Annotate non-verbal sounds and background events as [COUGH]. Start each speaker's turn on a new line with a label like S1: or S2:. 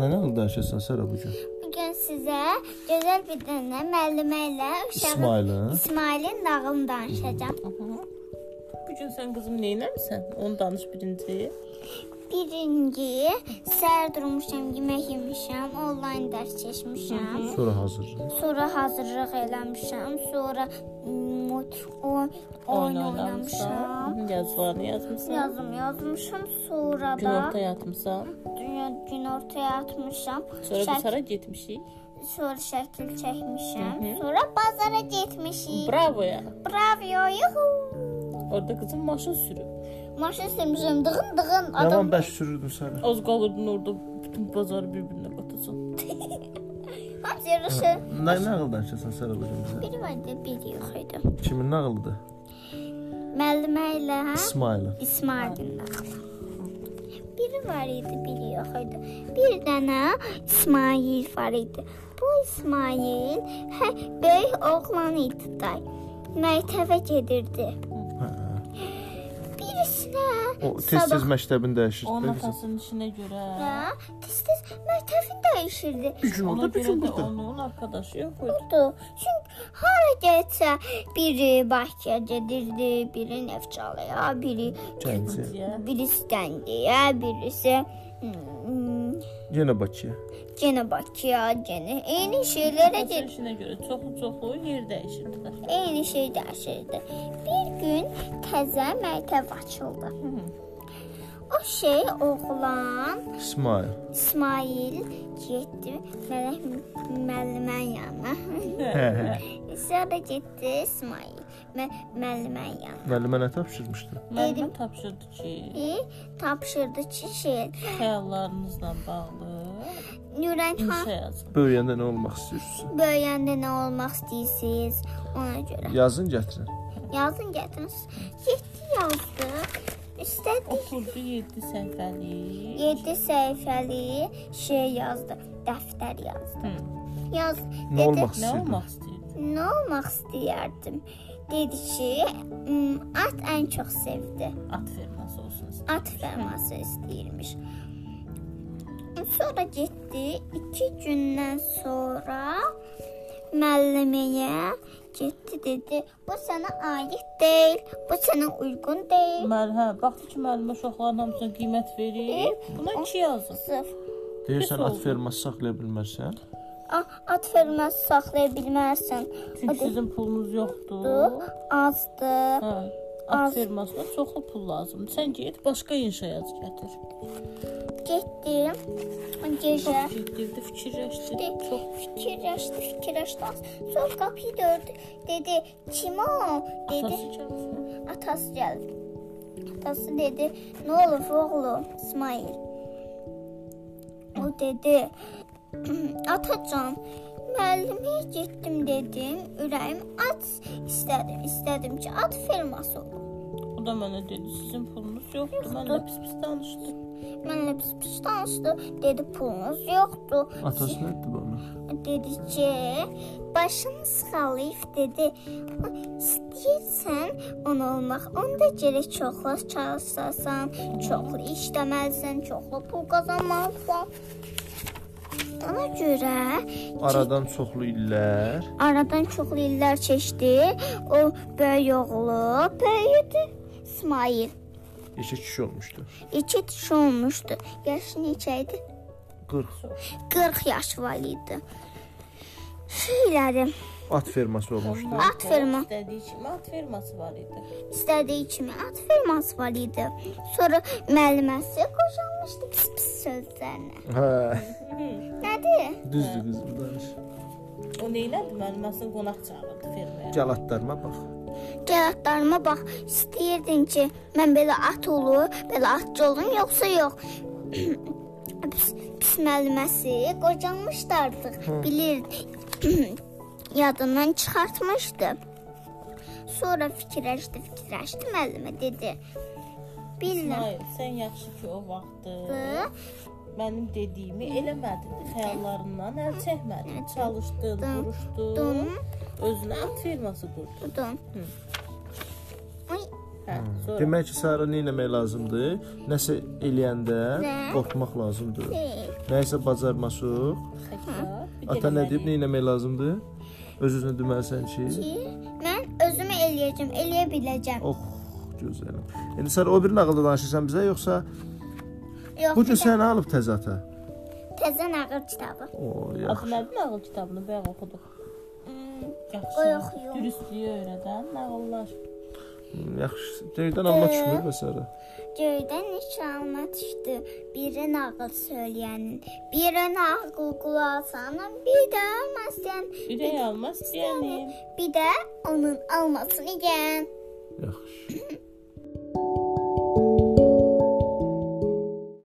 S1: Nə nədir danışırsan Sərə bu gün?
S2: Bu gün sizə gözəl bir dənə müəllimə ilə uşağın-
S1: İsmailin?
S2: İsmailin nağılını danışacağam.
S3: Bu gün sən qızım nə edəmsən? Onu danış birinci.
S2: Birinci, səhər durmuşam, yemək yemişəm, onlayn dərs keçmişəm.
S1: Sonra hazırlayın.
S2: Sonra hazırlıq eləmişəm, sonra mm, o- oyun oynamışam.
S3: Yazılarını yazmısan.
S2: Yazım yazmışam, sonra
S3: Gün orta
S2: da
S3: yatmısan.
S2: dünya gün ortaya atmışam.
S3: Sonra
S2: Şək-
S3: dışarı getmişik.
S2: sonra şəkil çəkmişəm. Sonra bazara getmişik.
S3: Bravo ya.
S2: Bravo, yuhu.
S3: Orada qızım maşın sürüb.
S2: Maşın sürmüşəm, dığın dığın adam.
S1: Yaman bəş sürürdün Sərə.
S3: Az qalırdın orada bütün bazarı bir-birinə qatasan.
S2: Hamısı yarışı.
S1: Nə nəğıl danışırsan Sərə bu gün bizə?
S2: Biri var idi, biri yox idi.
S1: Kimin nağılıdır?
S2: Müəllimə ilə
S1: İsmailin.
S2: İsmailin nağılı. Biri var idi, biri yox idi. Bir dənə İsmail var idi. Bu İsmail hə, böyük oğlan idi day. Məktəbə gedirdi. Birisinə
S1: O tez-tez məktəbini
S3: Onun
S1: dəyişirdi.
S3: atasının işinə görə.
S2: sabah- tez-tez məktəbini dəyişirdi.
S1: Bir gün
S3: Ona
S1: orada, bir
S3: görə
S1: gün
S3: də
S1: burada.
S3: onun arkadaşı yox idi.
S2: olurdu. Çünki hara getsə biri Bakıya gedirdi, biri Neftçalaya, biri
S1: Gəncə.
S3: Deyə.
S2: biri Stəndiyə, birisi hmm,
S1: Yenə Bakıya.
S2: genə Bakıya, genə eyni şeylərə
S3: Onun
S2: gedir.
S3: işinə görə çoxlu-çoxlu yer dəyişirdilər.
S2: Eyni şey dəyişirdi. Bir gün təzə məktəb açıldı. O şey oğlan
S1: İsmail.
S2: İsmail getdi mələk müəllimənin yanına. [LAUGHS]
S1: Hə, hə.
S2: Sonra getdi İsmail mə müəllimənin yanına.
S1: Müəllimə nə tapşırmışdı?
S3: Müəllimə tapşırdı ki,
S2: ki, tapşırdı ki şey,
S3: xəyallarınızla bağlı
S2: Nurən xan
S3: inşa yazın.
S1: Böyüyəndə nə olmaq istəyirsən?
S2: böyüyəndə nə olmaq istəyirsiniz? Ona görə.
S1: Yazın gətirin.
S2: Yazın gətiriniz. 7 yazdı. İstədi
S3: Oturdu 7 səhifəli.
S2: 7 səhifəli şey yazdı, dəftər yazdı.
S3: Hı.
S2: Yaz
S1: Nə olmaq
S3: Nə
S1: istəyirdin?
S3: olmaq istəyirdin?
S2: Nə olmaq istəyərdim? Dedi ki, "M, at ən çox sevdi.
S3: At ferması olsun istəyirdim.
S2: At ferması istəyirmiş. Sonra getdi. 2 gündən sonra müəlliməyə getdi dedi. Bu sənə aid deyil. Bu sənə uyğun deyil.
S3: Məl, hə, baxdı ki, müəllimə uşaqların hamısına qiymət verir. Buna 2 yazın.
S2: Sırf
S1: Deyirsən at ferması saxlaya bilmərsən.
S2: a- "Ah, at ferması saxlaya bilməzsən.
S3: Çünki sizin pulunuz yoxdur.
S2: Bu azdır.
S3: Hə. At fermasına çoxlu pul lazımdır. Sən get başqa inşa yaz gətir.
S2: Hə? Getdi. Gecə
S3: Fikirdi, fikirləşdi.
S2: Dedi,
S3: Çox
S2: fikirləşdi, fikirləşdi. Sonra qapıyı dördü. Dedi, kim o? Dedi,
S3: atası gəlsin.
S2: Atası gəldi. Atası dedi, "Nə olub oğlum, İsmail?" O dedi, [CLEARS THROAT] "Atacan, müəllimə getdim dedim, ürəyim at istədim, istədim ki, at ferması olum."
S3: O da mənə dedi, sizin pulunuz yoxdur. Mənlə pis-pis danışdı.
S2: Mənlə pis pis danışdı, dedi, "Pulunuz yoxdur."
S1: Atası nə etdi bunu?
S2: Dedi ki, "Başını sıxalayıb dedi, istəyirsən onu olmaq, onda gərək çoxlu çalışasan, çoxlu işləməlisən, çoxlu pul qazanmalısan." Ona görə
S1: Aradan çoxlu illər.
S2: aradan çoxlu illər keçdi. O böyük oğlu böyüdü. İsmail
S1: Eşə kişi olmuşdu.
S2: iki kişi olmuşdu. Yaşı neçə idi?
S1: 40
S2: 40 yaş var idi. Şeyləri
S1: at ferması olmuşdu.
S2: At ferma.
S3: İstədiyi kimi at ferması var idi.
S2: İstədiyi kimi at firması var idi. Sonra müəlliməsi qoşulmuşdu pis-pis sözlərlə.
S1: Hə,
S2: Nədir?
S1: düzdür qızım danış.
S3: O nə elədi? Müəlliməsini qonaq çağırdı fermaya.
S1: Gəl atlarıma bax.
S2: Gəl atlarıma bax. İstəyirdin ki, mən belə at olur, belə atçı olum, yoxsa yox. [CLEARS THROAT] pis, pis müəlliməsi qocanmışdı artıq. Bilir [CLEARS THROAT] yadından çıxartmışdı. Sonra fikirləşdi, fikirləşdi müəllimə dedi. Bilirəm.
S3: Hayır, sən yaxşı ki, o vaxtı mənim dediyimi eləmədin. Xəyallarından əl çəkmədin. Çalışdın, vuruşdun.
S2: Dum.
S3: Özünə at ferması qurdun.
S2: Budur. Ay,
S3: Hə, sonra
S1: Demək ki, Sara nə etmək lazımdır? Nəsə eləyəndə
S2: Nə?
S1: qorxmaq lazımdır.
S2: Deyil.
S1: Nəyisə bacarmasıq,
S3: təkrar. bir
S1: ata
S3: dənə
S1: nə
S3: məni-
S1: deyib, nə etmək lazımdır? Öz-özünə deməlisən ki,
S2: Ki, mən özümü eləyəcəm, eləyə biləcəm.
S1: "Ox, gözəlim." İndi Sara o birini ağılda danışırsan bizə, yoxsa
S2: Yox,
S1: bu gün
S2: bir də
S1: səni alıb təzə ata?
S2: təzə nağıl kitabı.
S1: O,
S3: Adı
S1: yaxşı.
S3: nədir nağıl kitabını bayaq oxuduq.
S2: Bayaq
S3: Yaxşı.
S2: yox.
S3: Dürüstlüyü öyrədən nağıllar.
S1: Yaxşı. Deyirdən Allah düşmür və Sara.
S2: Göydən üç alma düşdü. Biri nağıl söyləyənin, biri nağıl qulağının, bir də məsələn,
S3: Ürək yəni. almaz istəyənim.
S2: bir də onun almasını yeyən.
S1: Yaxşı.